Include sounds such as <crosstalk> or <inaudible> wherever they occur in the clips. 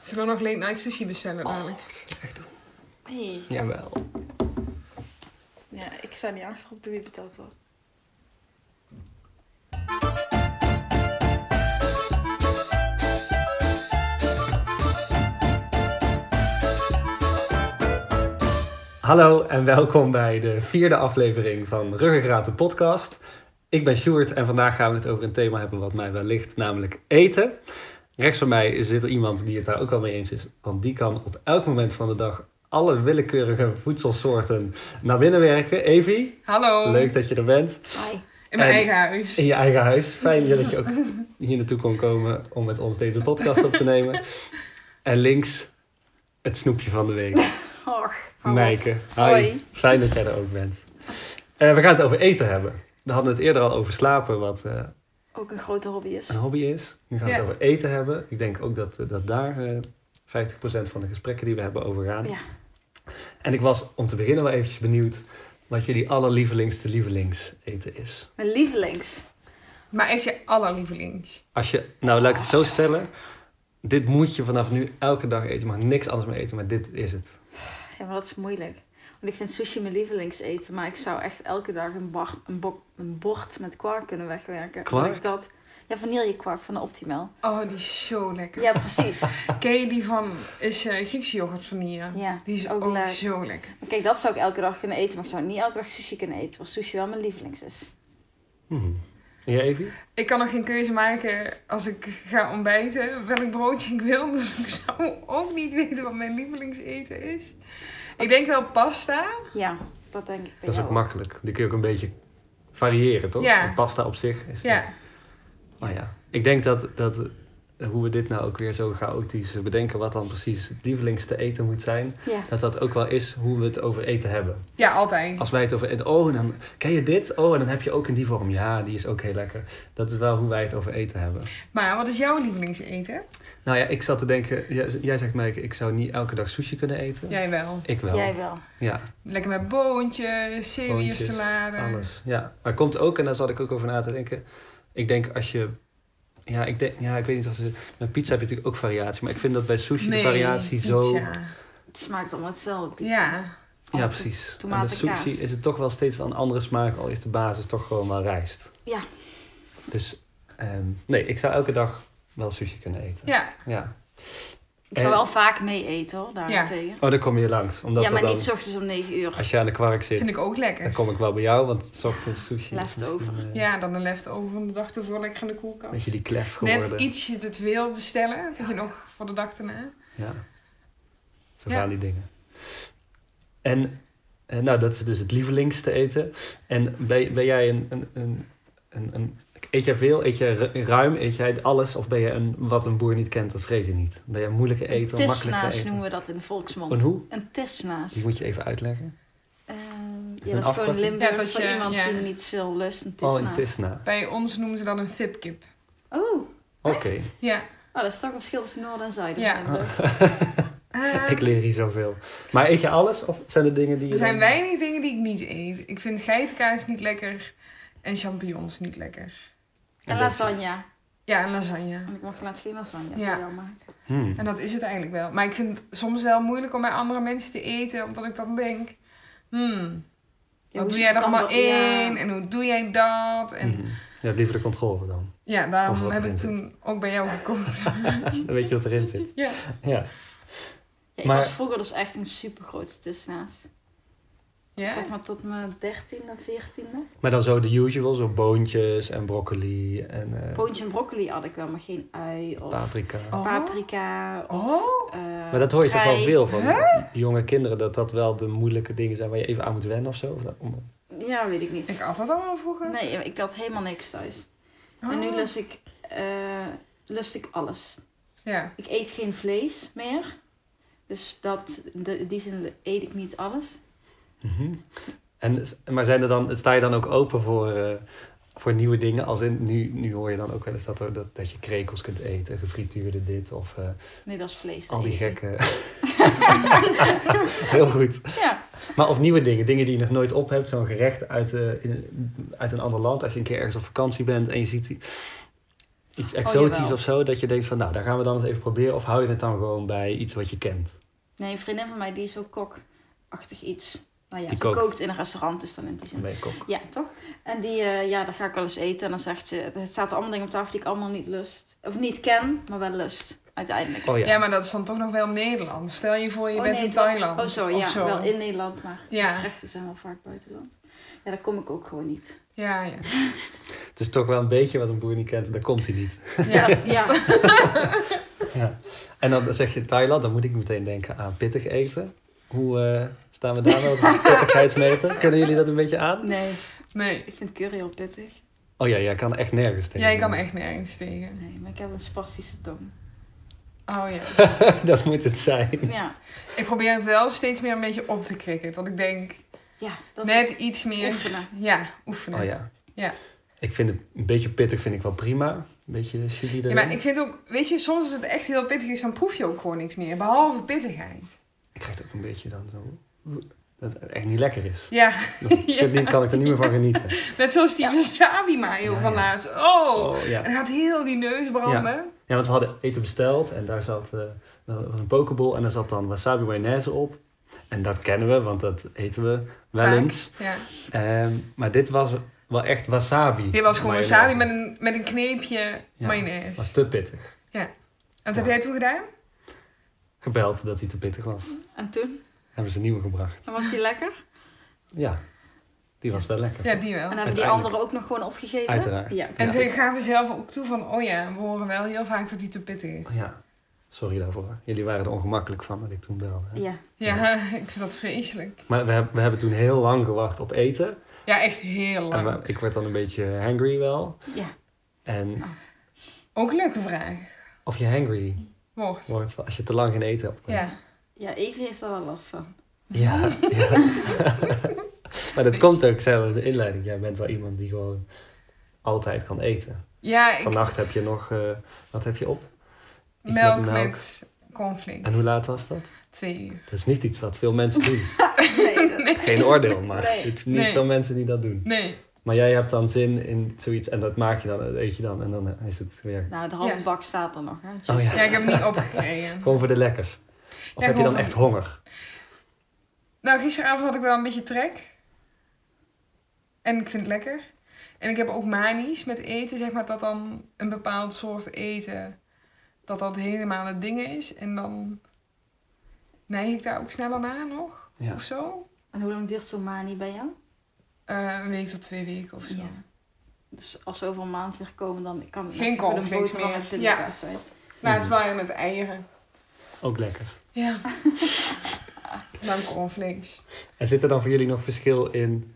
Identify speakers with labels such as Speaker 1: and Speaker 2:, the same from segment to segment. Speaker 1: Zullen we nog late night sushi bestellen dadelijk?
Speaker 2: Hey.
Speaker 3: Jawel.
Speaker 2: Ja, ik sta niet achter op de wie betaald wordt.
Speaker 3: Hallo en welkom bij de vierde aflevering van Ruggengraat de podcast. Ik ben Sjoerd en vandaag gaan we het over een thema hebben wat mij wel ligt, namelijk eten. Rechts van mij zit er iemand die het daar ook wel mee eens is, want die kan op elk moment van de dag alle willekeurige voedselsoorten naar binnen werken. Evi,
Speaker 1: Hallo.
Speaker 3: leuk dat je er bent.
Speaker 2: Hi.
Speaker 1: In mijn
Speaker 3: En-
Speaker 1: eigen huis.
Speaker 3: In je eigen huis. Fijn dat je ook hier naartoe kon komen om met ons deze podcast op te nemen. En links het snoepje van de week.
Speaker 2: Och, hou op.
Speaker 3: Meike, hi.
Speaker 2: Hoi.
Speaker 3: Fijn dat jij er ook bent. Eh, we gaan het over eten hebben. We hadden het eerder al over slapen, wat eh,
Speaker 2: Ook een grote hobby is.
Speaker 3: een hobby is. Nu gaan we
Speaker 1: Ja.
Speaker 3: het over eten hebben. Ik denk ook dat, eh, dat daar eh 50% van de gesprekken die we hebben over gaan.
Speaker 2: Ja.
Speaker 3: En ik was om te beginnen wel eventjes benieuwd wat jullie allerlievelingste lievelings eten is.
Speaker 2: Mijn lievelings.
Speaker 1: Maar eet je allerlievelings?
Speaker 3: Als je, nou laat ik
Speaker 2: Oh.
Speaker 3: het zo stellen, dit moet je vanaf nu elke dag eten. Je mag niks anders meer eten, maar dit is het.
Speaker 2: Ja, maar dat is moeilijk. Want ik vind sushi mijn lievelingseten, maar ik zou echt elke dag een, bar, een, bok- een bord met kwark kunnen wegwerken.
Speaker 3: Kwark?
Speaker 2: Omdat ik Dat, ja, vanillekwark van de Optimal.
Speaker 1: Oh, die is zo lekker.
Speaker 2: Ja,
Speaker 3: <laughs>
Speaker 2: precies.
Speaker 1: Ken je die van is, eh, Griekse yoghurt vanille?
Speaker 2: Ja,
Speaker 1: Die is
Speaker 2: ook
Speaker 1: ook,
Speaker 2: lekker.
Speaker 1: zo lekker.
Speaker 2: Maar Kijk, dat zou ik elke dag kunnen eten, maar ik zou niet elke dag sushi kunnen eten, want sushi wel mijn lievelings is.
Speaker 3: Hm.
Speaker 2: Hmm.
Speaker 3: En jij, Evie?
Speaker 1: Ik kan nog geen keuze maken als ik ga ontbijten welk broodje ik wil. <laughs> Dus ik zou ook niet weten wat mijn lievelingseten is. Ik denk wel pasta.
Speaker 2: Ja, dat denk ik bij
Speaker 3: Dat is
Speaker 2: jou
Speaker 3: ook makkelijk. Die kun je ook een beetje variëren, toch?
Speaker 1: Ja.
Speaker 3: En Pasta op zich is...
Speaker 1: Ja.
Speaker 3: Oh ja. Ik denk dat, dat eh, hoe we dit nou ook weer zo chaotisch eh, bedenken... wat dan precies het lievelingste eten moet zijn...
Speaker 2: Ja,
Speaker 3: dat dat ook wel is hoe we het over eten hebben.
Speaker 1: Ja, altijd.
Speaker 3: Als wij het over eten... Oh, dan ken je dit? Oh, en dan heb je ook in die vorm. Ja, die is ook heel lekker. Dat is wel hoe wij het over eten hebben.
Speaker 1: Maar wat is jouw lievelingseten?
Speaker 3: Nou ja, ik zat te denken... Jij, jij zegt, Mike, ik zou niet elke dag sushi kunnen eten.
Speaker 1: Jij wel.
Speaker 3: Ik wel.
Speaker 2: jij wel.
Speaker 3: Ja.
Speaker 1: Lekker met boontjes, zeewiersalade.
Speaker 3: Alles, ja. Maar komt ook, en daar zat ik ook over na te denken. Ik denk als je... Ja, ik, denk, ja, ik weet niet of ze... Met pizza heb je natuurlijk ook variatie. Maar ik vind dat bij sushi de variatie zo...
Speaker 1: pizza.
Speaker 2: Het smaakt allemaal hetzelfde. Pizza.
Speaker 1: Ja,
Speaker 3: Ja, precies. En bij
Speaker 2: Tomaten,
Speaker 3: sushi
Speaker 2: kaas.
Speaker 3: is het toch wel steeds wel een andere smaak. Al is de basis toch gewoon wel rijst.
Speaker 2: Ja.
Speaker 3: Dus ehm, nee, ik zou elke dag wel sushi kunnen eten.
Speaker 1: ja.
Speaker 3: Ja.
Speaker 2: Ik zou
Speaker 3: En-
Speaker 2: wel vaak mee eten hoor, daarentegen.
Speaker 3: Oh, dan kom je langs. Omdat
Speaker 2: Ja,
Speaker 3: dat
Speaker 2: maar
Speaker 3: dan,
Speaker 2: niet s ochtends om 9 uur.
Speaker 3: Als je aan de kwark
Speaker 1: vind
Speaker 3: zit,
Speaker 1: ik ook lekker.
Speaker 3: dan kom ik wel bij jou. Want s ochtends sushi is
Speaker 2: Leftover.
Speaker 3: misschien, eh,
Speaker 1: Ja, dan een leftover van de dag ervoor lekker in de
Speaker 3: Een
Speaker 1: koelkast.
Speaker 3: beetje die klef geworden.
Speaker 1: Net ietsje te veel bestellen, dat je nog voor de dag erna.
Speaker 3: Ja. Zo
Speaker 1: Ja.
Speaker 3: gaan die dingen. En eh, nou, dat is dus het lievelingste eten. En ben, ben jij een, een, een, een, een- Eet jij veel? Eet jij ru- ruim? Eet jij alles? Of ben je een wat een boer niet kent, dat vreet je niet? Ben je een moeilijke eter, een makkelijke
Speaker 2: Tisnaas
Speaker 3: eter?
Speaker 2: noemen we dat in de volksmond.
Speaker 3: Een hoe?
Speaker 2: Een tisnaas.
Speaker 3: Die moet je even uitleggen.
Speaker 2: Ehm,
Speaker 3: een
Speaker 2: ja, dat is gewoon
Speaker 3: afkorting?
Speaker 2: Limburgs
Speaker 1: Ja, dat
Speaker 2: voor
Speaker 1: je-
Speaker 2: iemand
Speaker 1: ja.
Speaker 2: die niet veel lust en
Speaker 3: Oh, een
Speaker 2: tisnaas.
Speaker 3: tisna.
Speaker 1: Bij ons noemen ze dan een fipkip.
Speaker 2: oh,
Speaker 3: Oké. <laughs>
Speaker 1: Ja.
Speaker 2: oh, dat is toch een verschil tussen Noord en Zuid.
Speaker 1: Ja.
Speaker 2: Ja. Limburg.
Speaker 1: Ah,
Speaker 3: <laughs> Ik leer hier zoveel. Maar eet je alles? Of zijn er dingen die je...
Speaker 1: er zijn
Speaker 3: dan-
Speaker 1: weinig dingen die ik niet eet. Ik vind geitenkaas niet lekker en champignons niet lekker.
Speaker 2: En
Speaker 3: En dat is-
Speaker 2: lasagne.
Speaker 1: Ja, en lasagne.
Speaker 2: Want ik mag laatst geen lasagne
Speaker 1: Ja.
Speaker 2: voor jou maken.
Speaker 3: Hmm.
Speaker 1: En dat is het eigenlijk wel. Maar ik vind het soms wel moeilijk om bij andere mensen te eten, omdat ik dan denk... Hmm,
Speaker 2: Ja,
Speaker 1: wat
Speaker 2: hoe
Speaker 1: doe jij er
Speaker 2: kan
Speaker 1: allemaal
Speaker 2: dat?
Speaker 1: in?
Speaker 2: Ja.
Speaker 1: En hoe doe jij dat? En
Speaker 3: Mhm. Je hebt liever de controle dan.
Speaker 1: Ja,
Speaker 3: Of
Speaker 1: daarom
Speaker 3: wat
Speaker 1: heb
Speaker 3: erin
Speaker 1: ik
Speaker 3: zit.
Speaker 1: toen ook bij jou gekocht.
Speaker 3: Dan weet je wat erin zit.
Speaker 1: ja.
Speaker 3: Ja.
Speaker 2: Ja, ik
Speaker 3: Maar-
Speaker 2: was vroeger dus echt een super grote tisnaas.
Speaker 1: Ja?
Speaker 2: Zeg maar tot mijn dertiende, veertiende.
Speaker 3: Maar dan zo de usual, zo boontjes en broccoli en eh,
Speaker 2: Boontje en broccoli had ik wel, maar geen ui of
Speaker 3: paprika.
Speaker 1: Oh.
Speaker 2: paprika. Of,
Speaker 1: Oh?
Speaker 2: eh,
Speaker 3: Maar dat hoor je toch wel
Speaker 2: prei.
Speaker 3: veel van jonge kinderen, dat dat wel de moeilijke dingen zijn waar je even aan moet wennen of zo. Of dat- om-
Speaker 2: Ja, weet ik niet.
Speaker 1: Ik had dat allemaal vroeger.
Speaker 2: Nee, ik had helemaal niks thuis.
Speaker 1: Oh.
Speaker 2: En nu lust ik, eh, lust ik alles.
Speaker 1: Ja.
Speaker 2: Ik eet geen vlees meer. Dus dat, de, in die zin eet ik niet alles.
Speaker 3: Mhm. en, maar zijn er dan, sta je dan ook open voor, eh, voor nieuwe dingen? Als in, nu, nu hoor je dan ook wel eens dat, er, dat, dat je krekels kunt eten, gefrituurde dit of eh,
Speaker 2: Nee, dat is vlees. dat
Speaker 3: al die
Speaker 2: eet ik
Speaker 3: gekke... <laughs> Heel goed.
Speaker 2: niet. Ja,
Speaker 3: Maar of nieuwe dingen, dingen die je nog nooit op hebt. Zo'n gerecht uit, eh, in- uit een ander land. Als je een keer ergens op vakantie bent en je ziet die- iets exotisch
Speaker 2: jawel.
Speaker 3: of zo, dat je denkt van nou, daar gaan we dan eens even proberen. Of hou je het dan gewoon bij iets wat je kent?
Speaker 2: Nee, een vriendin van mij die is zo kokachtig iets. Nou ja,
Speaker 3: Die
Speaker 2: ze
Speaker 3: kookt.
Speaker 2: kookt. in een restaurant, dus dan in die
Speaker 3: Dan
Speaker 2: zin.
Speaker 3: ben je kok.
Speaker 2: Ja, toch? En die, eh, ja, daar ga ik wel eens eten. En dan zegt ze, er staat allemaal dingen op tafel die ik allemaal niet lust. Of niet ken, maar wel lust. Uiteindelijk.
Speaker 3: Oh ja.
Speaker 1: Ja. maar dat is dan toch nog wel Nederland. Stel je voor, je
Speaker 2: Oh,
Speaker 1: bent
Speaker 2: nee,
Speaker 1: in
Speaker 2: het was-
Speaker 1: Thailand.
Speaker 2: Oh zo,
Speaker 1: of
Speaker 2: ja. Wel in Nederland, maar
Speaker 1: Ja.
Speaker 2: de gerechten zijn wel vaak buitenland. Ja, daar kom ik ook gewoon niet.
Speaker 1: Ja,
Speaker 2: <laughs>
Speaker 1: ja.
Speaker 3: Het is toch wel een beetje wat een boer niet kent, daar komt hij niet.
Speaker 1: ja.
Speaker 2: Ja, <laughs> ja.
Speaker 3: Ja. En dan zeg je Thailand, dan moet ik meteen denken aan pittig eten. Hoe eh, staan we daar nou op de pittigheidsmeter? Kunnen jullie dat een beetje aan?
Speaker 2: nee.
Speaker 1: Nee.
Speaker 2: Ik vind curry heel pittig.
Speaker 3: Oh ja, jij kan echt nergens tegen.
Speaker 1: Jij kan
Speaker 3: <laughs>
Speaker 1: echt nergens tegen.
Speaker 2: Nee, maar ik heb een spastische tong.
Speaker 1: Oh ja.
Speaker 3: <laughs> dat moet het zijn.
Speaker 2: Ja.
Speaker 1: Ik probeer het wel steeds meer een beetje op te krikken. Dat ik denk,
Speaker 2: Ja, dat
Speaker 1: net iets meer...
Speaker 2: oefenen.
Speaker 1: Ja, oefenen.
Speaker 3: Oh ja.
Speaker 1: Ja.
Speaker 3: Ik vind het een beetje pittig, vind ik wel prima. Een beetje chili
Speaker 1: Ja,
Speaker 3: erin.
Speaker 1: maar ik vind ook... Weet je, soms als het echt heel pittig is, dan proef je ook gewoon niks meer. Behalve pittigheid.
Speaker 3: Ik krijg het ook een beetje dan zo... Dat het echt niet lekker
Speaker 1: <laughs>
Speaker 3: is.
Speaker 1: Ja,
Speaker 3: Dan kan- kan ik er
Speaker 1: <laughs>
Speaker 3: niet meer van genieten.
Speaker 1: net zoals die
Speaker 2: Ja.
Speaker 1: wasabi mayo
Speaker 3: Ja,
Speaker 1: van
Speaker 3: ja.
Speaker 1: laatst. Oh,
Speaker 3: Oh, ja.
Speaker 1: en gaat heel die neus branden.
Speaker 3: ja, want we hadden eten besteld en daar zat eh, wel- was een pokeball en daar zat dan wasabi mayonaise op. En dat kennen we, want dat eten we wel
Speaker 1: Vaak.
Speaker 3: eens.
Speaker 1: Ja.
Speaker 3: Ehm, maar dit was wel echt wasabi.
Speaker 1: Dit was gewoon
Speaker 3: mayonaise.
Speaker 1: wasabi met een, met een kneepje
Speaker 3: Ja.
Speaker 1: mayonaise.
Speaker 3: was te pittig.
Speaker 1: En wat
Speaker 3: Ja.
Speaker 1: heb jij toen gedaan?
Speaker 3: Gebeld dat hij te pittig was.
Speaker 2: En toen?
Speaker 3: Hebben ze een nieuwe gebracht.
Speaker 2: Dan was die lekker.
Speaker 3: Ja, die was wel lekker.
Speaker 1: Ja, die wel.
Speaker 2: En hebben die
Speaker 3: Uiteindelijk.
Speaker 2: andere ook nog gewoon opgegeten?
Speaker 3: Uiteraard.
Speaker 2: Ja.
Speaker 1: En
Speaker 3: Ja.
Speaker 1: ze gaven zelf ook toe van, oh ja, we horen wel heel vaak dat hij te pittig is.
Speaker 3: Ja, sorry daarvoor. Jullie waren er ongemakkelijk van dat ik toen belde. hè.
Speaker 2: Ja.
Speaker 1: Ja, <laughs> ik vind dat vreselijk.
Speaker 3: Maar we, heb- we hebben toen heel lang gewacht op eten.
Speaker 1: Ja, echt heel
Speaker 3: En
Speaker 1: lang.
Speaker 3: we- ik werd dan een beetje hangry wel.
Speaker 2: Ja.
Speaker 3: En
Speaker 1: Ook een leuke vraag.
Speaker 3: of je hangry
Speaker 1: Wordt.
Speaker 3: wordt van- als je te lang geen eten hebt.
Speaker 1: Ja.
Speaker 2: Ja, Evie heeft daar wel last van.
Speaker 3: Ja,
Speaker 1: <laughs>
Speaker 3: ja. maar dat komt ook zelf in de inleiding. Jij bent wel iemand die gewoon altijd kan eten.
Speaker 1: Ja, ik
Speaker 3: Vannacht heb je nog, eh, wat heb je op? met
Speaker 1: melk
Speaker 3: melk.
Speaker 1: met conflict.
Speaker 3: En hoe laat was dat?
Speaker 1: Twee uur. <laughs>
Speaker 3: Dat is niet iets wat veel mensen doen.
Speaker 2: <laughs> Nee, dat-
Speaker 3: Geen oordeel, maar
Speaker 2: Nee.
Speaker 3: het is niet
Speaker 1: Nee.
Speaker 3: veel mensen die dat doen.
Speaker 1: Nee.
Speaker 3: Maar jij hebt dan zin in zoiets en dat maak je dan, dat eet je dan en dan is het weer
Speaker 2: Nou, de halve
Speaker 1: Ja.
Speaker 2: bak staat er nog. Hè? Dus-
Speaker 3: Oh, ja.
Speaker 1: Ja, ik heb hem niet opgekregen.
Speaker 3: gewoon voor de lekker. Of
Speaker 1: Ja,
Speaker 3: heb je dan
Speaker 1: gewoon-
Speaker 3: echt honger?
Speaker 1: Nou, gisteravond had ik wel een beetje trek. En ik vind het lekker. En ik heb ook manisch met eten, zeg maar, dat dan een bepaald soort eten, dat dat helemaal het ding is. En dan neig ik daar ook sneller naar nog,
Speaker 3: Ja.
Speaker 1: of zo.
Speaker 2: En hoe lang duurt zo'n mani bij jou?
Speaker 1: Eh, een week tot twee weken of zo.
Speaker 2: Ja. Dus als we over een maand weer komen, dan kan het
Speaker 1: Geen
Speaker 2: net zo goed een
Speaker 1: cornflakes
Speaker 2: boterham
Speaker 1: meer.
Speaker 2: met pindakaas zijn.
Speaker 1: Nou, het waren met eieren.
Speaker 3: Ook lekker.
Speaker 1: Ja. <laughs> Dan cornflakes.
Speaker 3: En zit er dan voor jullie nog verschil in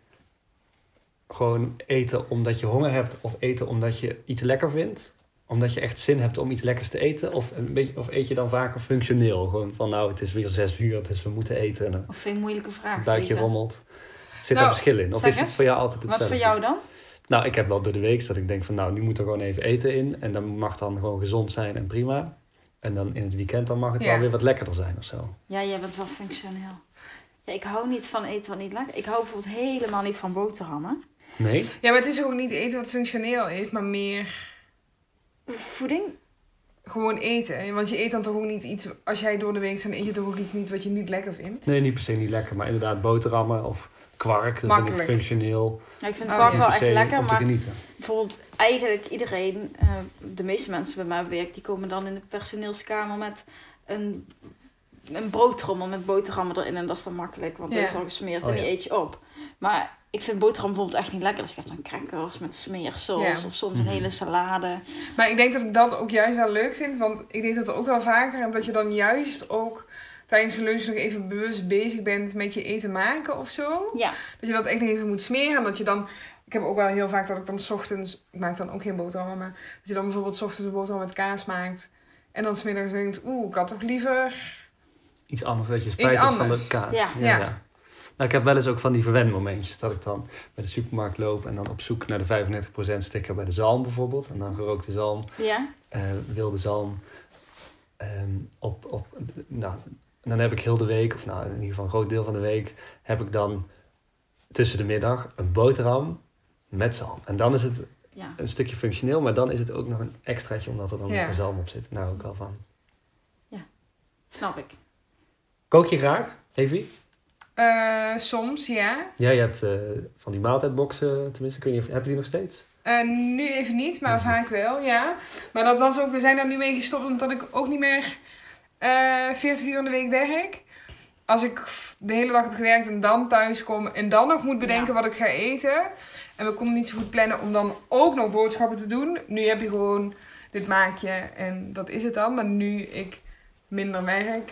Speaker 3: gewoon eten omdat je honger hebt of eten omdat je iets lekker vindt? Omdat je echt zin hebt om iets lekkers te eten? Of, een beetje, of eet je dan vaker functioneel? Gewoon van nou, het is weer zes uur, dus we moeten eten en
Speaker 2: Of vind ik een moeilijke vraag.
Speaker 3: een buikje
Speaker 2: Eva.
Speaker 3: rommelt. Zit
Speaker 1: Nou,
Speaker 3: daar verschil in? Of
Speaker 2: zeg
Speaker 3: is het
Speaker 2: eens.
Speaker 3: voor jou altijd
Speaker 2: Wat
Speaker 3: hetzelfde?
Speaker 2: is voor jou dan?
Speaker 3: Nou, ik heb wel door de week dat ik denk van nou, nu moet er gewoon even eten in. En dan mag dan gewoon gezond zijn en prima. En dan in het weekend dan mag het
Speaker 1: Ja.
Speaker 3: wel weer wat lekkerder zijn of zo.
Speaker 2: Ja, jij bent wel functioneel. Ja, ik hou niet van eten wat niet lekker. Ik hou bijvoorbeeld helemaal niet van boterhammen.
Speaker 3: Nee?
Speaker 1: Ja, maar het is ook niet eten wat functioneel is, maar meer
Speaker 2: Voeding?
Speaker 1: gewoon eten. Want je eet dan toch ook niet iets, als jij door de week bent, dan eet je toch ook iets niet wat je niet lekker vindt.
Speaker 3: Nee, niet per se niet lekker. Maar inderdaad boterhammen of kwark. Dat vind ik
Speaker 1: Makkelijk.
Speaker 3: functioneel.
Speaker 2: Ja, ik vind
Speaker 1: Oh,
Speaker 2: het kwark
Speaker 1: ja.
Speaker 2: wel
Speaker 3: Niet per
Speaker 2: echt
Speaker 3: se
Speaker 2: lekker,
Speaker 3: om te
Speaker 2: maar
Speaker 3: genieten.
Speaker 2: bijvoorbeeld eigenlijk iedereen, eh, de meeste mensen bij mij op werk, die komen dan in de personeelskamer met een, een broodtrommel met boterhammen erin. En dat is dan makkelijk, want
Speaker 1: Ja.
Speaker 2: die is al gesmeerd
Speaker 3: Oh,
Speaker 2: en die
Speaker 3: ja.
Speaker 2: eet je op. Maar ik vind boterham bijvoorbeeld echt niet lekker. Dus ik heb dan crackers met smeersaus
Speaker 1: Ja.
Speaker 2: of soms
Speaker 3: Mhm.
Speaker 2: een hele salade.
Speaker 1: Maar ik denk dat ik dat ook juist wel leuk vind, want ik deed dat ook wel vaker. En dat je dan juist ook tijdens de lunch nog even bewust bezig bent met je eten maken of zo.
Speaker 2: Ja,
Speaker 1: Dat je dat echt nog even moet smeren. En dat je dan, ik heb ook wel heel vaak dat ik dan 's ochtends, ik maak dan ook geen boterhammen, maar dat je dan bijvoorbeeld 's ochtends een boterham met kaas maakt. En dan smiddags denkt, oeh, ik had toch liever...
Speaker 3: Iets anders dat je spijt hebt van de
Speaker 1: anders.
Speaker 3: kaart.
Speaker 2: Ja.
Speaker 1: Ja.
Speaker 3: Nou, ik heb wel eens ook van die verwenmomentjes. Dat ik dan bij de supermarkt loop en dan op zoek naar de 35% sticker bij de zalm bijvoorbeeld. En dan gerookte zalm.
Speaker 2: ja.
Speaker 3: eh, wilde zalm ehm, op, op nou, dan heb ik heel de week, of nou in ieder geval een groot deel van de week, heb ik dan tussen de middag een boterham met zalm. En dan is het
Speaker 2: ja.
Speaker 3: een stukje functioneel, maar dan is het ook nog een extraatje omdat er dan
Speaker 1: Ja.
Speaker 3: nog een zalm op zit. Nou, ook wel van.
Speaker 2: Snap ik.
Speaker 3: Kook je graag, Evi?
Speaker 1: Eh, soms, ja.
Speaker 3: Jij hebt eh, van die maaltijdboxen, tenminste, ik weet niet of heb je die nog steeds?
Speaker 1: Eh, nu even niet, maar
Speaker 2: Mhm.
Speaker 3: Ja.
Speaker 1: vaak wel, ja. Maar dat was ook, we zijn daar nu mee gestopt omdat ik ook niet meer eh 40 uur in de week werk. Als ik f- de hele dag heb gewerkt en dan thuis kom en dan nog moet bedenken wat ik ga eten. En we konden niet zo goed plannen om dan ook nog boodschappen te doen. Nu heb je gewoon dit maak je en dat is het dan. Maar nu ik minder werk,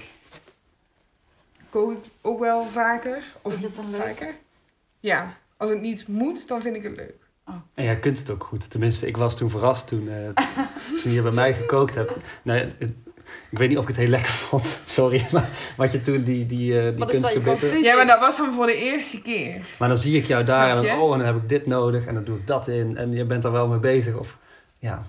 Speaker 1: kook ik ook wel vaker. Of
Speaker 2: Is het dan leuk?
Speaker 1: vaker. Ja, als het niet moet, dan vind ik het leuk.
Speaker 3: En jij kunt het ook goed. Tenminste, ik was toen verrast toen,
Speaker 1: <laughs>
Speaker 3: eh, toen je bij mij gekookt hebt. Nou, ja, het- ik weet niet of ik het heel lekker vond. <laughs> Sorry, maar wat je toen die, die, eh die
Speaker 2: Wat is dat, je
Speaker 3: kunstgebitten-
Speaker 2: conclusie?
Speaker 1: Ja, maar dat was dan voor de eerste keer.
Speaker 3: Maar dan zie ik jou daar en
Speaker 1: Snap
Speaker 3: dan,
Speaker 1: je?
Speaker 3: oh, en dan heb ik dit nodig en dan doe ik dat in. En je bent daar wel mee bezig. Of ja,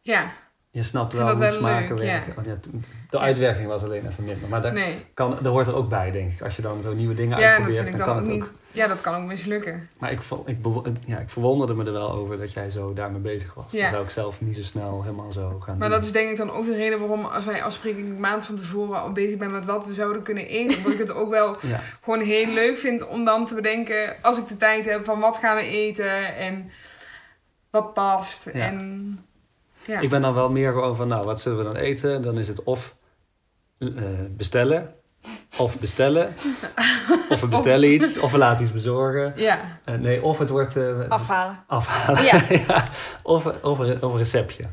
Speaker 1: Ja,
Speaker 3: je snapt
Speaker 1: Ik
Speaker 3: wel
Speaker 1: vind
Speaker 3: hoe
Speaker 1: dat wel
Speaker 3: smaken
Speaker 1: leuk, ja.
Speaker 3: werken. Want ja, t- de uitwerking was alleen even minder. Maar daar,
Speaker 1: nee.
Speaker 3: kan, daar hoort er ook bij, denk ik. Als je dan zo nieuwe dingen
Speaker 1: Ja, dat
Speaker 3: uitprobeert,
Speaker 1: vind ik
Speaker 3: dan,
Speaker 1: dan ook
Speaker 3: kan het
Speaker 1: niet.
Speaker 3: ook.
Speaker 1: Ja, dat kan ook mislukken.
Speaker 3: Maar ik, vo- ik, bewo- ja, ik verwonderde me er wel over dat jij zo daarmee bezig was.
Speaker 1: Ja.
Speaker 3: Dan zou ik zelf niet zo snel helemaal zo gaan
Speaker 1: Maar
Speaker 3: doen.
Speaker 1: dat is denk ik dan ook de reden waarom als wij afspreken een maand van tevoren al bezig ben met wat we zouden kunnen eten. Omdat ik het ook wel
Speaker 3: Ja.
Speaker 1: gewoon heel leuk vind om dan te bedenken, als ik de tijd heb, van wat gaan we eten en wat past. En ja,
Speaker 3: Ik ben dan wel meer gewoon van, nou, wat zullen we dan eten? Dan is het of eh, bestellen, of bestellen, of we bestellen iets, of we laten iets bezorgen.
Speaker 1: ja.
Speaker 3: Eh, nee, of het wordt eh,
Speaker 2: Afhalen.
Speaker 3: afhalen.
Speaker 2: Ja.
Speaker 3: <laughs> Ja. Of, of, een, of een receptje.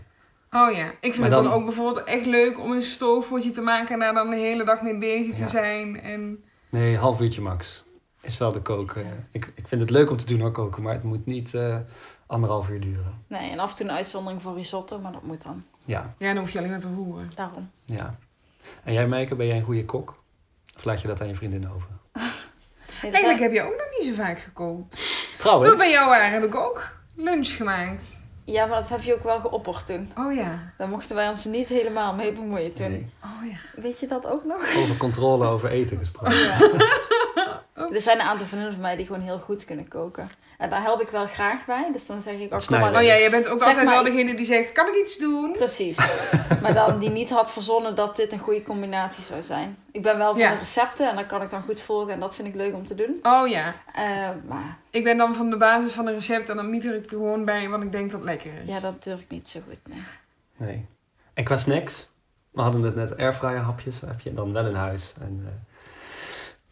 Speaker 1: Oh ja, ik vind
Speaker 3: Maar
Speaker 1: het dan,
Speaker 3: dan-
Speaker 1: ook bijvoorbeeld echt leuk om een stoofpotje te maken en daar dan de hele dag mee bezig
Speaker 3: Ja.
Speaker 1: te zijn. En
Speaker 3: Nee, een half uurtje max. Is wel de koken. Ik, ik vind het leuk om te doen hoor, koken, maar het moet niet eh, anderhalf uur duren.
Speaker 2: Nee, en af en toe een uitzondering voor risotto, maar dat moet dan.
Speaker 3: Ja,
Speaker 1: ja, dan hoef je alleen maar te roeren.
Speaker 2: Daarom.
Speaker 3: ja. En jij, Meike, ben jij een goede kok? Of laat je dat aan je vriendin over?
Speaker 2: Nee, dat
Speaker 1: Eigenlijk
Speaker 2: zijn-
Speaker 1: heb je ook nog niet zo vaak gekookt. Toen we
Speaker 3: Trouwens,
Speaker 1: bij jou waren heb ik ook lunch gemaakt.
Speaker 2: Ja, maar dat heb je ook wel geopperd toen.
Speaker 1: Oh ja.
Speaker 2: Daar mochten wij ons niet helemaal mee bemoeien toen.
Speaker 3: nee,
Speaker 1: Oh ja.
Speaker 2: Weet je dat ook nog?
Speaker 3: over controle over eten gesproken.
Speaker 2: Er zijn een aantal vriendinnen van mij die gewoon heel goed kunnen koken. En daar help ik wel graag bij. Dus dan zeg ik, oh, kom
Speaker 3: Snijden.
Speaker 2: maar.
Speaker 1: Oh ja, jij bent ook
Speaker 2: Zeg
Speaker 1: altijd
Speaker 2: maar-
Speaker 1: wel degene die zegt, kan ik iets doen?
Speaker 2: Precies. <laughs> Maar dan die niet had verzonnen dat dit een goede combinatie zou zijn. Ik ben wel van
Speaker 1: Ja.
Speaker 2: de recepten en dan kan ik dan goed volgen. En dat vind ik leuk om te doen.
Speaker 1: Oh ja.
Speaker 2: Eh, maar
Speaker 1: Ik ben dan van de basis van een recept en dan mieter ik er gewoon bij, want ik denk dat het lekker is.
Speaker 2: ja, dat durf ik niet zo goed. Nee.
Speaker 3: Nee. En qua snacks, we hadden het net airfryer hapjes, heb je dan wel in huis. En, eh,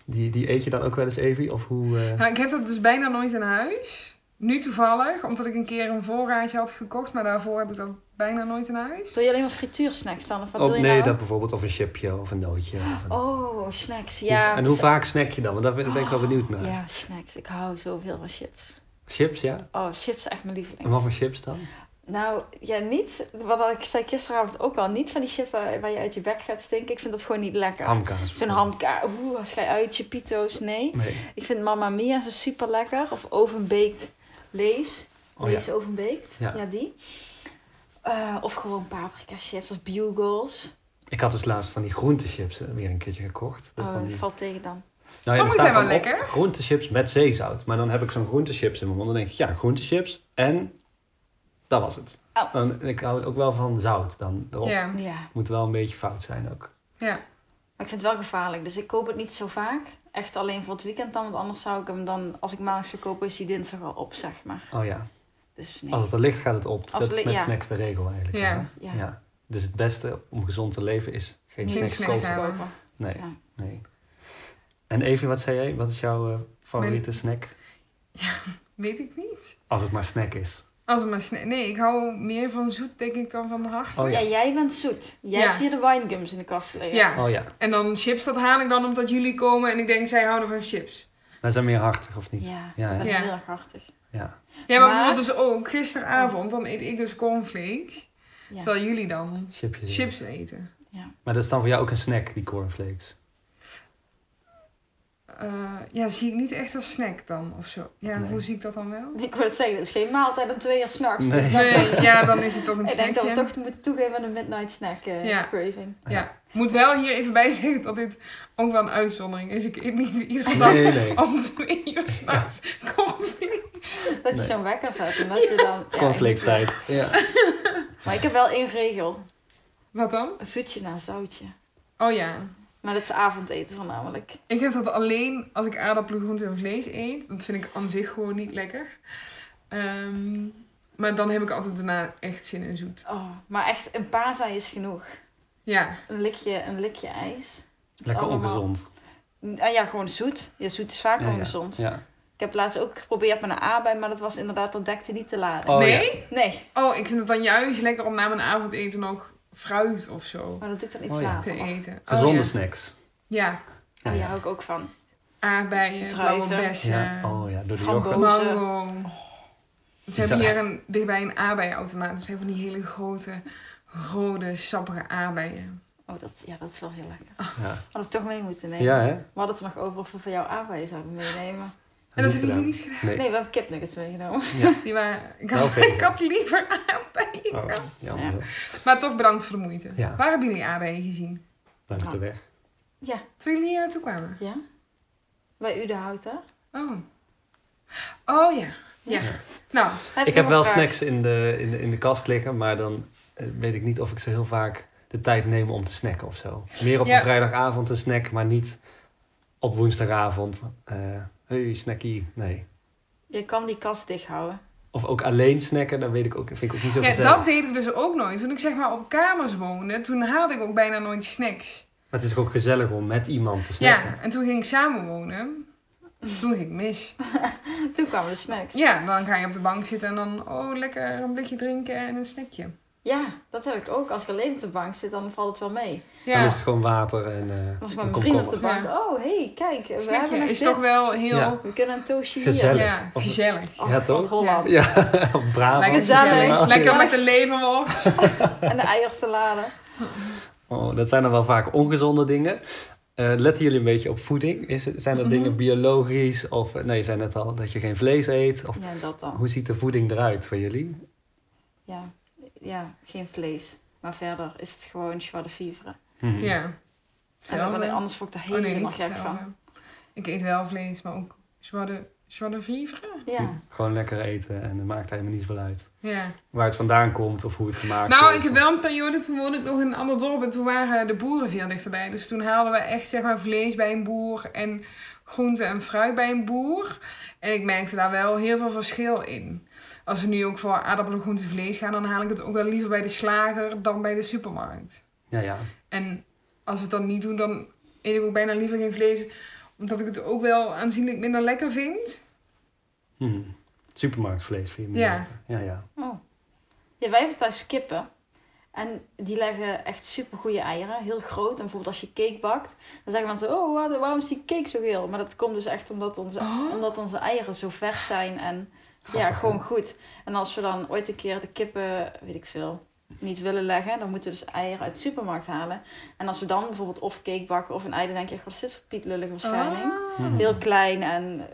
Speaker 3: die, die eet je dan ook wel eens Evie? Of hoe? eh,
Speaker 1: Nou, ik heb dat dus bijna nooit in huis. Nu toevallig, omdat ik een keer een voorraadje had gekocht, maar daarvoor heb ik dat bijna nooit in huis.
Speaker 2: Doe je alleen maar frituursnacks dan? Of wat
Speaker 3: oh,
Speaker 2: doe je
Speaker 3: nee,
Speaker 2: nou?
Speaker 3: dat bijvoorbeeld of een chipje of een nootje. Of een-
Speaker 2: Oh, snacks.
Speaker 3: Hoe-
Speaker 2: Ja. Oh,
Speaker 3: en hoe vaak snack je dan? Want daar ben ben ik wel benieuwd naar.
Speaker 2: Ja, snacks. Ik hou zoveel van chips.
Speaker 3: Chips, ja?
Speaker 2: Oh, chips is echt mijn
Speaker 3: En
Speaker 2: lieveling.
Speaker 3: wat voor chips dan?
Speaker 2: Nou, ja, niet. Wat ik zei gisteravond ook al. Niet van die chips waar, waar je uit je bek gaat stinken. Ik vind dat gewoon niet lekker.
Speaker 3: Hamkaas.
Speaker 2: Zo'n
Speaker 3: bijvoorbeeld.
Speaker 2: hamka. Oeh, als jij uit, chipito's. Nee.
Speaker 3: Nee.
Speaker 2: Ik vind Mamma Mia zo super lekker. Of ovenbaked lees.
Speaker 3: Oh ja.
Speaker 2: Lees ovenbaked.
Speaker 3: Ja.
Speaker 2: Ja, die. Eh, of gewoon paprika chips of bugles.
Speaker 3: Ik had dus laatst van die groentechips eh, weer een keertje gekocht.
Speaker 2: Oh,
Speaker 3: van
Speaker 2: dat
Speaker 3: die-
Speaker 2: valt tegen dan.
Speaker 3: Nou ja,
Speaker 1: Sommige
Speaker 3: er staat
Speaker 1: zijn
Speaker 3: dan
Speaker 1: wel
Speaker 3: op
Speaker 1: lekker.
Speaker 3: groentechips met zeezout. Maar dan heb ik zo'n groentechips in mijn mond. Dan denk ik, ja, groentechips. En dat was het.
Speaker 2: Oh.
Speaker 3: Dan, ik hou het ook wel van zout dan erop.
Speaker 1: Ja.
Speaker 2: Ja.
Speaker 3: Moet wel een beetje fout zijn ook.
Speaker 1: Ja.
Speaker 2: Maar ik vind het wel gevaarlijk. Dus ik koop het niet zo vaak. Echt alleen voor het weekend dan. Want anders zou ik hem dan, als ik maandag zou kopen, is die dinsdag al op, zeg maar.
Speaker 3: Oh ja,
Speaker 2: Dus nee.
Speaker 3: als het er ligt gaat het op.
Speaker 2: Als
Speaker 3: dat
Speaker 2: het
Speaker 3: is
Speaker 2: li-
Speaker 3: met
Speaker 2: ja.
Speaker 3: snacks de regel eigenlijk.
Speaker 1: Ja.
Speaker 3: hè?
Speaker 2: Ja.
Speaker 3: Dus het beste om gezond te leven is geen
Speaker 2: Niet
Speaker 3: snacks,
Speaker 1: snacks
Speaker 3: kopen.
Speaker 1: hebben.
Speaker 2: Oh,
Speaker 3: Nee,
Speaker 2: Ja.
Speaker 3: nee. En Evie, wat zei jij? Wat is jouw eh, favoriete snack?
Speaker 1: Weet ik niet.
Speaker 3: Als het maar snack is.
Speaker 1: Als het maar sne- Nee, ik hou meer van zoet, denk ik, dan van hard.
Speaker 3: Oh ja.
Speaker 2: ja. jij bent zoet. Jij
Speaker 1: Ja.
Speaker 2: hebt hier de winegums in de kast liggen.
Speaker 1: Ja.
Speaker 3: Oh ja,
Speaker 1: En dan chips, dat haal ik dan omdat jullie komen en ik denk, zij houden van chips.
Speaker 3: wij zijn meer hartig of niet?
Speaker 2: Ja,
Speaker 3: Ja,
Speaker 2: ik
Speaker 3: hè?
Speaker 2: ben
Speaker 1: Ja.
Speaker 2: heel erg hartig.
Speaker 3: ja.
Speaker 1: Ja, maar,
Speaker 2: Maar-
Speaker 1: bijvoorbeeld dus ook gisteravond, dan eet ik dus cornflakes.
Speaker 2: Ja.
Speaker 1: Terwijl jullie dan
Speaker 3: chipjes.
Speaker 1: chips eten.
Speaker 3: Maar dat is dan voor jou ook een snack, die cornflakes.
Speaker 1: Eh, eh, ja, zie ik niet echt als snack dan of zo. Ja,
Speaker 3: Nee.
Speaker 1: hoe zie ik dat dan wel?
Speaker 2: Ik wil het zeggen, het is geen maaltijd om twee uur s'nachts. Dus
Speaker 3: Nee.
Speaker 1: Nee, ja, dan is het toch een
Speaker 2: <laughs> Ik denk dat we
Speaker 1: snackje.
Speaker 2: toch moeten toegeven aan de midnight snack eh,
Speaker 1: Ja.
Speaker 2: craving.
Speaker 1: Ja, moet wel hier even bij zeggen dat dit ook wel een uitzondering is. Ik eet niet iedere dag
Speaker 3: Nee, nee.
Speaker 1: om twee uur s'nachts cornflakes.
Speaker 2: Dat je
Speaker 3: Nee.
Speaker 2: zo'n wekker zet en dat je
Speaker 3: <laughs>
Speaker 2: dan... ja,
Speaker 3: Conflicttijd. Ja.
Speaker 2: ik- maar ik heb wel één regel.
Speaker 1: Wat dan?
Speaker 2: Een zoetje na een zoutje.
Speaker 1: Oh ja,
Speaker 2: Maar dat is avondeten voornamelijk.
Speaker 1: ik heb dat alleen als ik aardappelen, groente en vlees eet. Dat vind ik aan zich gewoon niet lekker. Ehm, maar dan heb ik altijd daarna echt zin in zoet.
Speaker 2: Oh, maar echt, een paza is genoeg.
Speaker 1: Ja,
Speaker 2: Een likje, een likje ijs. Het is
Speaker 3: <laughs> Lekker
Speaker 2: allemaal-
Speaker 3: ongezond.
Speaker 2: Ah ja, gewoon zoet. Ja, zoet is vaak
Speaker 3: Ja, ja.
Speaker 2: ongezond.
Speaker 1: Oh,
Speaker 3: Ja.
Speaker 2: Ik heb laatst ook geprobeerd met een aardbei, maar dat was inderdaad, dat dekte niet te laden.
Speaker 3: Oh,
Speaker 1: nee?
Speaker 2: Nee,
Speaker 1: Oh, ik vind het dan juist lekker om na mijn avondeten nog fruit of zo
Speaker 2: maar dat doe ik dan iets
Speaker 3: Oh ja.
Speaker 1: te
Speaker 2: later. nog.
Speaker 1: eten. Oh,
Speaker 3: Gezonde
Speaker 1: ja.
Speaker 3: snacks.
Speaker 1: Ja,
Speaker 2: Oh,
Speaker 3: Ja,
Speaker 2: Daar
Speaker 3: ja.
Speaker 2: hou ik ook van.
Speaker 1: aardbeien, blauwe
Speaker 2: Druiven.
Speaker 1: bessen,
Speaker 3: Ja. Oh ja, door de
Speaker 2: Framboos.
Speaker 3: yoghurt.
Speaker 1: mango. Ze hebben
Speaker 3: Bizar.
Speaker 1: hier een, dichtbij een aardbeienautomaat. Dat zijn van die hele grote, rode, sappige aardbeien.
Speaker 2: Oh, dat, ja, dat is wel heel lekker.
Speaker 3: Ja.
Speaker 2: Hadden we toch mee moeten nemen.
Speaker 3: ja, hè?
Speaker 2: We hadden het er nog over of we voor jou aardbeien zouden meenemen.
Speaker 1: En dat hebben
Speaker 3: gedaan.
Speaker 1: jullie niet gedaan.
Speaker 3: Nee.
Speaker 2: Nee, we hebben kipnuggets meegenomen.
Speaker 1: Die waren, ik,
Speaker 3: Wel
Speaker 1: had,
Speaker 3: veel,
Speaker 1: <laughs> ik
Speaker 3: ja.
Speaker 1: had liever aardbeien.
Speaker 3: Oh,
Speaker 1: gehad.
Speaker 3: jammer.
Speaker 1: Maar toch bedankt voor de moeite.
Speaker 3: Ja.
Speaker 1: Waar hebben jullie aardbeien gezien?
Speaker 3: Langs
Speaker 1: Nou,
Speaker 3: de weg.
Speaker 2: Ja,
Speaker 1: Toen jullie hier naartoe kwamen.
Speaker 2: ja. Bij u de houten.
Speaker 1: Oh. Oh ja. Ja.
Speaker 3: Ja.
Speaker 1: Nou,
Speaker 3: Ik heb wel snacks in de, in, de, in de kast liggen, maar dan eh, weet ik niet of ik ze heel vaak de tijd neem om te snacken of zo. Meer op
Speaker 1: Ja.
Speaker 3: een vrijdagavond een snack, maar niet op woensdagavond. eh hey, snackie. Nee.
Speaker 2: Je kan die kast dicht houden.
Speaker 3: Of ook alleen snacken, dat weet ik ook, vind ik ook niet zo
Speaker 1: ja,
Speaker 3: gezellig.
Speaker 1: dat deed ik dus ook nooit. Toen ik zeg maar op kamers woonde, toen haalde ik ook bijna nooit snacks.
Speaker 3: Maar het is toch ook gezellig om met iemand te snacken.
Speaker 1: Ja, en toen ging ik samen wonen. Toen ging ik mis.
Speaker 2: Toen kwamen de snacks.
Speaker 1: Ja, dan ga je op de bank zitten en dan, oh, lekker een blikje drinken en een snackje.
Speaker 2: Ja, dat heb ik ook. Als ik alleen op de bank zit, dan valt het wel mee.
Speaker 1: Ja,
Speaker 3: Dan is het gewoon water en eh
Speaker 2: Dan was ik met
Speaker 3: een
Speaker 2: mijn vriend op
Speaker 3: komkommer.
Speaker 2: de bank. Oh, hey, kijk. we
Speaker 1: snackje
Speaker 2: hebben nog
Speaker 1: is
Speaker 2: dit.
Speaker 1: toch wel heel
Speaker 3: Ja.
Speaker 1: ja.
Speaker 2: We kunnen een toosje
Speaker 3: Gezellig.
Speaker 2: hier.
Speaker 3: Of-
Speaker 1: gezellig.
Speaker 2: Oh,
Speaker 3: Ja, toch?
Speaker 2: wat
Speaker 3: <laughs>
Speaker 2: Holland.
Speaker 3: Ja, op Brabant.
Speaker 1: Lekker
Speaker 2: gezellig.
Speaker 1: gezellig.
Speaker 2: Oh,
Speaker 1: Lekker
Speaker 2: ja.
Speaker 1: met de leverworst.
Speaker 2: En de eiersalade.
Speaker 3: Oh, dat zijn dan wel vaak ongezonde dingen. Eh, letten jullie een beetje op voeding? Is,
Speaker 1: Mhm.
Speaker 3: zijn dat dingen biologisch? Of eh, nee, je zei net al dat je geen vlees eet? Of,
Speaker 2: Ja, dat dan.
Speaker 3: hoe ziet de voeding eruit voor jullie?
Speaker 2: Ja. ja, geen vlees. Maar verder is het gewoon joie de vivre.
Speaker 3: Mhm.
Speaker 1: Ja.
Speaker 2: En dan-
Speaker 1: Hetzelfde.
Speaker 2: anders vond ik er
Speaker 1: Oh nee,
Speaker 2: helemaal
Speaker 1: niet
Speaker 2: gek van.
Speaker 1: hetzelfde. Ik eet wel vlees, maar ook joie de- joie de vivre.
Speaker 2: Ja.
Speaker 3: Gewoon lekker eten en het maakt helemaal niet veel uit.
Speaker 1: Ja.
Speaker 3: Waar het vandaan komt of hoe het gemaakt is.
Speaker 1: Nou, ik heb
Speaker 3: of-
Speaker 1: wel een periode, toen woonde ik nog in een ander dorp en toen waren de boeren veel dichterbij. Dus toen haalden we echt zeg maar vlees bij een boer en groente en fruit bij een boer. En ik merkte daar wel heel veel verschil in. Als we nu ook voor aardappelen, groente, vlees gaan, dan haal ik het ook wel liever bij de slager dan bij de supermarkt.
Speaker 3: Ja, ja.
Speaker 1: En als we het dan niet doen, dan eet ik ook bijna liever geen vlees, omdat ik het ook wel aanzienlijk minder lekker vind.
Speaker 3: Mhm. Supermarktvlees vind je meer
Speaker 1: Ja.
Speaker 3: lekker. Ja, ja.
Speaker 2: Oh. Ja, wij hebben thuis kippen. En die leggen echt super goede eieren. Heel groot. En bijvoorbeeld als je cake bakt, dan zeggen mensen: Oh, waar- waarom is die cake zo geel? Maar dat komt dus echt omdat onze,
Speaker 1: Oh.
Speaker 2: omdat onze eieren zo vers zijn en ja,
Speaker 3: Grappig,
Speaker 2: gewoon goed. En als we dan ooit een keer de kippen, weet ik veel, niet willen leggen, dan moeten we dus eieren uit de supermarkt halen. En als we dan bijvoorbeeld of cake bakken of een ei, dan denk je: echt, Wat is dit voor pietlullige verschijning?
Speaker 1: Ah.
Speaker 3: Mhm.
Speaker 2: Heel klein en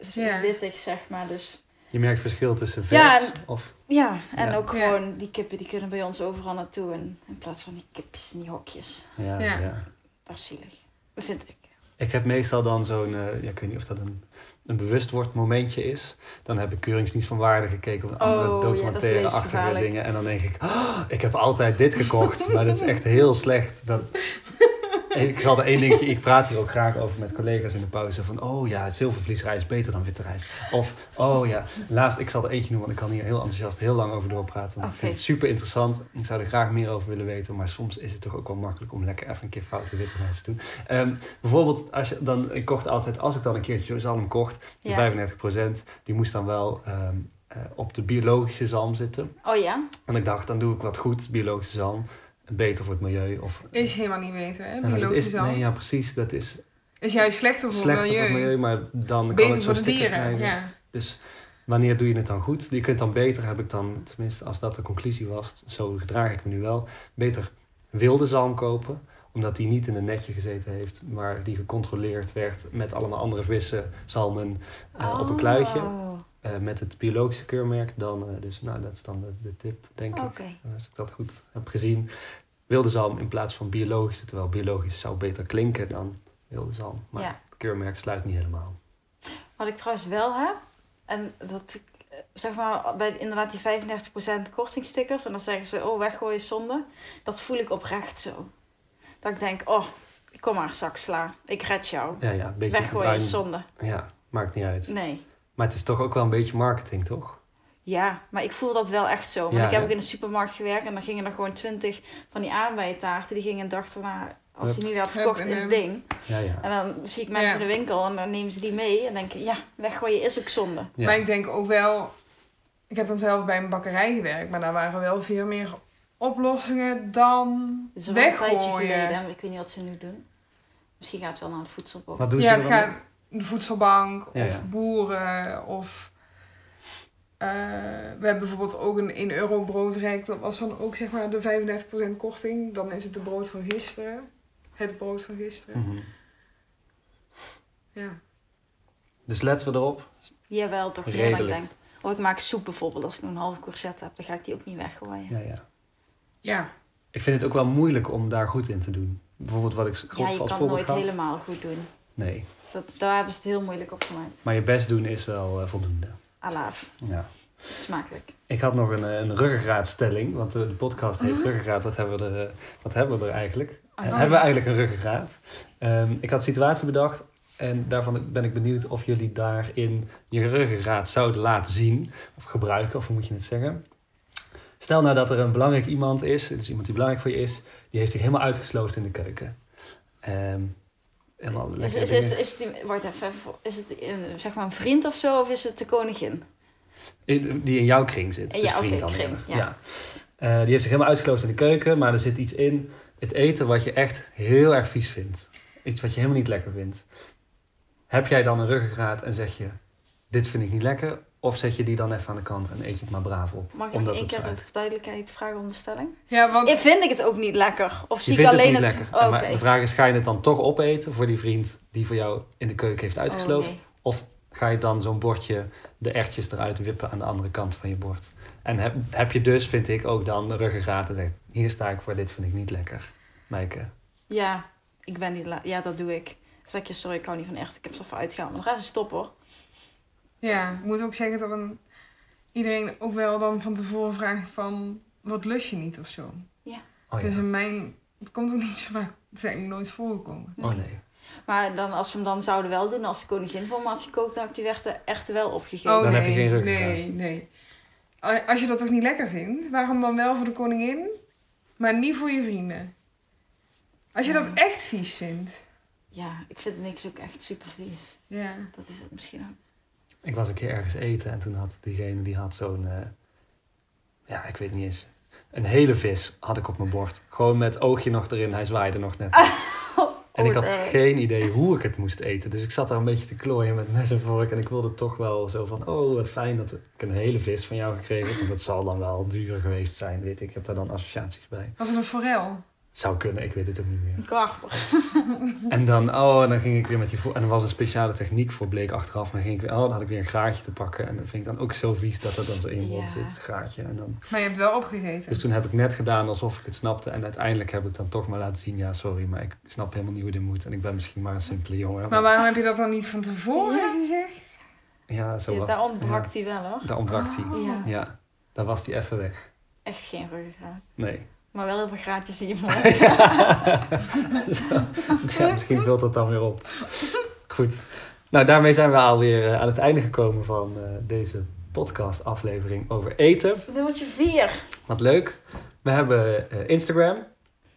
Speaker 2: eh,
Speaker 1: Ja.
Speaker 2: wittig, zeg maar. Dus
Speaker 3: Je merkt verschil tussen vers
Speaker 2: Ja,
Speaker 3: of...
Speaker 2: ja, en
Speaker 3: Ja.
Speaker 2: ook
Speaker 1: Ja.
Speaker 2: gewoon die kippen die kunnen bij ons overal naartoe. En in plaats van die kipjes en die hokjes.
Speaker 3: Ja,
Speaker 1: Ja.
Speaker 3: ja.
Speaker 2: Dat is zielig. Dat vind ik.
Speaker 3: Ik heb meestal dan zo'n, eh, ja, ik weet niet of dat een, een bewustword momentje is. Dan heb ik Keuringsdienst van Waarde gekeken of andere
Speaker 2: Oh, ja, dat is
Speaker 3: documentaire-achtige
Speaker 2: levensgevaarlijk.
Speaker 3: dingen. En dan denk ik, "Oh, ik heb altijd dit gekocht, maar dat is echt heel slecht.
Speaker 2: <laughs>
Speaker 3: Dat... Ik had één dingetje, ik praat hier ook graag over met collega's in de pauze. Van, oh ja, zilvervliesrijst is beter dan witte rijst. Of, oh ja, laatst, ik zal er eentje noemen, want ik kan hier heel enthousiast heel lang over doorpraten. Want Ik vind
Speaker 2: Oké.
Speaker 3: het super interessant. Ik zou er graag meer over willen weten. Maar soms is het toch ook wel makkelijk om lekker even een keer foute witte rijst te doen. Ehm, bijvoorbeeld, als je dan, ik kocht altijd, als ik dan een keertje zalm kocht, die
Speaker 2: Ja.
Speaker 3: 35%, die moest dan wel ehm, eh, op de biologische zalm zitten.
Speaker 2: Oh ja?
Speaker 3: En ik dacht, dan doe ik wat goed, biologische zalm. Beter voor het milieu. Of,
Speaker 1: Is helemaal niet weten, hè?
Speaker 3: En dat
Speaker 1: Biologisch
Speaker 3: is,
Speaker 1: al.
Speaker 3: Nee, ja, precies. Dat is
Speaker 1: Is juist slechter voor
Speaker 3: slechter
Speaker 1: het
Speaker 3: voor
Speaker 1: milieu.
Speaker 3: het milieu, maar dan kan
Speaker 1: Beter
Speaker 3: het
Speaker 1: voor
Speaker 3: zo'n
Speaker 1: de
Speaker 3: sticker
Speaker 1: dieren,
Speaker 3: krijgen.
Speaker 1: ja.
Speaker 3: Dus wanneer doe je het dan goed? Je kunt dan beter, heb ik dan, tenminste als dat de conclusie was, zo gedraag ik me nu wel, beter wilde zalm kopen. omdat die niet in een netje gezeten heeft, maar die gecontroleerd werd met allemaal andere vissen, salmen eh, op een kluitje.
Speaker 2: Oh,
Speaker 3: eh, met het biologische keurmerk, dan, eh, dus nou, dat is dan de, de tip, denk
Speaker 2: Oké.
Speaker 3: ik. Als ik dat goed heb gezien. Wilde zalm in plaats van biologische, terwijl biologisch zou beter klinken dan wilde zalm. Maar
Speaker 2: Ja.
Speaker 3: het keurmerk sluit niet helemaal.
Speaker 2: Wat ik trouwens wel heb, en dat ik, eh, zeg maar bij inderdaad die 35% kortingstickers, en dan zeggen ze, oh weggooien is zonde. Dat voel ik oprecht zo. Dat ik denk, oh, kom maar zak sla, ik red jou.
Speaker 3: Ja, ja, een beetje
Speaker 2: Weggooien is zonde.
Speaker 3: Ja, maakt niet uit.
Speaker 2: Nee.
Speaker 3: Maar het is toch ook wel een beetje marketing, toch?
Speaker 2: Ja, maar ik voel dat wel echt zo. Want
Speaker 3: Ja,
Speaker 2: ik heb
Speaker 3: hè?
Speaker 2: ook in de supermarkt gewerkt en dan gingen er gewoon 20 van die aardbeientaarten. Die gingen een dag daarna, als
Speaker 3: Hup.
Speaker 2: je niet had
Speaker 1: Hup,
Speaker 2: verkocht,
Speaker 1: en
Speaker 2: in het
Speaker 1: hem.
Speaker 2: ding.
Speaker 3: Ja, ja.
Speaker 2: En dan zie ik mensen
Speaker 1: Ja.
Speaker 2: in de winkel en dan nemen ze die mee. En denken, ja, weggooien is ook zonde.
Speaker 3: Ja.
Speaker 1: Maar ik denk ook wel... Ik heb dan zelf bij een bakkerij gewerkt, maar daar waren wel veel meer oplossingen dan
Speaker 2: Dat is al wel een tijdje geleden.
Speaker 1: weggooien.
Speaker 2: hè, maar Ik weet niet wat ze nu doen. Misschien gaat het wel naar de voedselbank.
Speaker 3: Wat doen
Speaker 1: Ja,
Speaker 3: ze er
Speaker 1: het
Speaker 3: dan
Speaker 1: gaat de voedselbank
Speaker 3: Ja,
Speaker 1: of
Speaker 3: ja.
Speaker 1: boeren of... eh, we hebben bijvoorbeeld ook een 1 euro broodrek. Dat was dan ook zeg maar de 35% korting. Dan is het de brood van gisteren. Het brood van
Speaker 3: mee?
Speaker 1: gisteren.
Speaker 3: Mhm. Hm.
Speaker 1: Ja.
Speaker 3: Dus letten we erop.
Speaker 2: Jawel, toch meer dan ik
Speaker 3: Redelijk.
Speaker 2: denk. Of ik maak soep bijvoorbeeld. Als ik nog een halve courgette heb, dan ga ik die ook niet weggooien.
Speaker 3: Ja, ja.
Speaker 1: Ja.
Speaker 3: Ik vind het ook wel moeilijk om daar goed in te doen. Bijvoorbeeld wat ik s-
Speaker 2: Ja,
Speaker 3: als
Speaker 2: je kan
Speaker 3: voorbeeld
Speaker 2: het nooit
Speaker 3: gaf.
Speaker 2: helemaal goed doen.
Speaker 3: Nee,
Speaker 2: Dat, daar hebben ze het heel moeilijk op gemaakt.
Speaker 3: maar je best doen is wel eh, voldoende.
Speaker 2: Alaaf.
Speaker 3: Ja.
Speaker 2: Smakelijk.
Speaker 3: Ik had nog een, eh, een ruggengraatstelling, want de de podcast heet ruggengraat. Wat hebben we er, eh, wat hebben we er eigenlijk?
Speaker 2: Ah. Oh,
Speaker 3: Eh,
Speaker 2: ja.
Speaker 3: hebben we eigenlijk een ruggengraat? Ehm, ik had een situatie bedacht en daarvan ben ik benieuwd of jullie daarin je ruggengraat zouden laten zien. Of gebruiken, of hoe moet je het zeggen? Stel nou dat er een belangrijk iemand is, dus iemand die belangrijk voor je is, die heeft zich helemaal uitgesloofd in de keuken. Ehm helemaal
Speaker 2: Is,
Speaker 3: lekker
Speaker 2: is,
Speaker 3: dingen.
Speaker 2: is, is, het die- wacht even, even, is het een, zeg maar een vriend of zo, of is het de koningin?
Speaker 3: In- Eh, Die in jouw kring zit.
Speaker 2: Ja,
Speaker 3: dus vriend
Speaker 2: oké,
Speaker 3: dan
Speaker 2: kring,
Speaker 3: eerder.
Speaker 2: ja.
Speaker 3: Eh, die heeft zich helemaal uitgeloosd in de keuken, maar er zit iets in. Het eten wat je echt heel erg vies vindt. Iets wat je helemaal niet lekker vindt. Heb jij dan een ruggengraat en zeg je, dit vind ik niet lekker? Of zet je die dan even aan de kant en eet je het maar braaf op?
Speaker 2: Mag ik nog
Speaker 3: omdat
Speaker 2: één
Speaker 3: het zo
Speaker 2: keer
Speaker 3: uit...
Speaker 2: voor duidelijkheid vragen om de stelling?
Speaker 1: Ja, want...
Speaker 2: Ik vind ik het ook niet lekker? Of
Speaker 3: Je
Speaker 2: zie ik
Speaker 3: vindt het
Speaker 2: alleen
Speaker 3: niet
Speaker 2: het...
Speaker 3: lekker.
Speaker 2: Oh,
Speaker 3: Maar de vraag is, ga je het dan toch opeten voor die vriend die voor jou in de keuken heeft uitgesloofd?
Speaker 2: Oh, nee.
Speaker 3: ga je dan zo'n bordje, de ertjes eruit wippen aan de andere kant van je bord. En heb, heb je dus, vind ik, ook dan de ruggengraat en zegt, hier sta ik voor, dit vind ik niet lekker. Mijke.
Speaker 2: Ja, ik ben niet la- Ja, dat doe ik. Dan Zeg je, sorry, ik hou niet van echt. Ik heb het ervan uitgehaald. Maar dan gaan ze stoppen hoor.
Speaker 1: Ja, ik moet ook zeggen dat een, iedereen ook wel dan van tevoren vraagt van... Wat lust je niet of zo?
Speaker 3: Oh ja.
Speaker 1: Dus in mijn... Het komt ook niet zo vaak... Het is eigenlijk nooit voorgekomen.
Speaker 3: Oh nee.
Speaker 2: Maar dan, als we hem dan zouden wel doen, als de koningin voor me had gekookt, dan had ik die werd echt wel opgegeven.
Speaker 1: Oh,
Speaker 3: Dan
Speaker 1: nee,
Speaker 3: heb je geen ruggengraat.
Speaker 1: Nee, nee. A- Als je dat toch niet lekker vindt, waarom dan wel voor de koningin, maar niet voor je vrienden? Als je dat
Speaker 2: Ja.
Speaker 1: echt vies vindt.
Speaker 2: Ja, ik vind niks ook echt super vies.
Speaker 1: Ja.
Speaker 2: Dat is het misschien ook.
Speaker 3: Ik was een keer ergens eten en toen had diegene, die had zo'n, eh, ja, ik weet niet eens, een hele vis had ik op mijn bord. Gewoon met oogje nog erin, hij zwaaide nog net. En
Speaker 2: Oh,
Speaker 3: ik had
Speaker 2: wat erg.
Speaker 3: geen idee hoe ik het moest eten. Dus ik zat daar een beetje te klooien met mes en vork. En ik wilde toch wel zo van, oh wat fijn dat ik een hele vis van jou gekregen heb. Want dat zal dan wel duur geweest zijn, weet ik. Ik heb daar dan associaties bij.
Speaker 1: Was het een forel?
Speaker 3: Zou kunnen, ik weet het ook niet meer.
Speaker 2: Een karper.
Speaker 3: En dan, oh, en dan ging ik weer met die vork. En er was een speciale techniek voor, bleek achteraf. Maar ging ik weer, oh, dan had ik weer een graatje te pakken. En dat vind ik dan ook zo vies dat dat dan zo in je mond
Speaker 2: Ja.
Speaker 3: zit, het graatje. En dan,
Speaker 1: Maar je hebt wel opgegeten.
Speaker 3: dus toen heb ik net gedaan alsof ik het snapte. En uiteindelijk heb ik dan toch maar laten zien, ja sorry, maar ik snap helemaal niet hoe dit moet. En ik ben misschien maar een simpele jongen.
Speaker 1: maar waarom heb je dat dan niet van tevoren
Speaker 2: Ja.
Speaker 1: gezegd?
Speaker 3: Ja, zo
Speaker 2: Ja,
Speaker 3: was
Speaker 2: daar
Speaker 3: het.
Speaker 2: ontbrak hij wel hoor.
Speaker 3: Ja, daar ontbrak hij.
Speaker 1: Oh.
Speaker 2: Ja.
Speaker 3: Ja, daar was hij even weg.
Speaker 2: Echt geen ruggengraat.
Speaker 3: Nee.
Speaker 2: Maar wel heel veel graatjes in je
Speaker 3: <laughs>
Speaker 2: mond.
Speaker 3: Zo. ja, misschien vult dat dan weer op. Goed. Nou, daarmee zijn we alweer eh, aan het einde gekomen van eh, deze podcast-aflevering over eten.
Speaker 2: Nummertje 4.
Speaker 3: Wat leuk. We hebben eh, Instagram.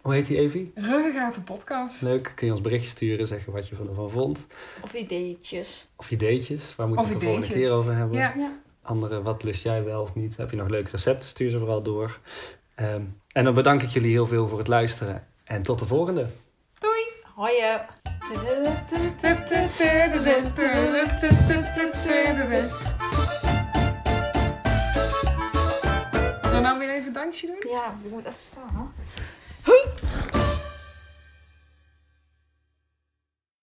Speaker 3: Hoe heet die, Evie?
Speaker 1: Ruggengraat de podcast.
Speaker 3: Leuk. Kun je ons berichtje sturen, zeggen wat je ervan vond.
Speaker 2: Of ideetjes.
Speaker 3: Of ideetjes. Waar moeten we
Speaker 1: Of
Speaker 3: het de volgende
Speaker 1: ideetjes.
Speaker 3: keer over hebben?
Speaker 1: Ja.
Speaker 2: Ja.
Speaker 3: andere, wat lust jij wel of niet? Heb je nog leuke recepten? Stuur ze vooral door. Ehm, en dan bedank ik jullie heel veel voor het luisteren. En tot de volgende.
Speaker 1: Doei!
Speaker 2: Hoi je.
Speaker 1: Dan nou weer even een dansje doen?
Speaker 2: Ja, je moet even staan hoor.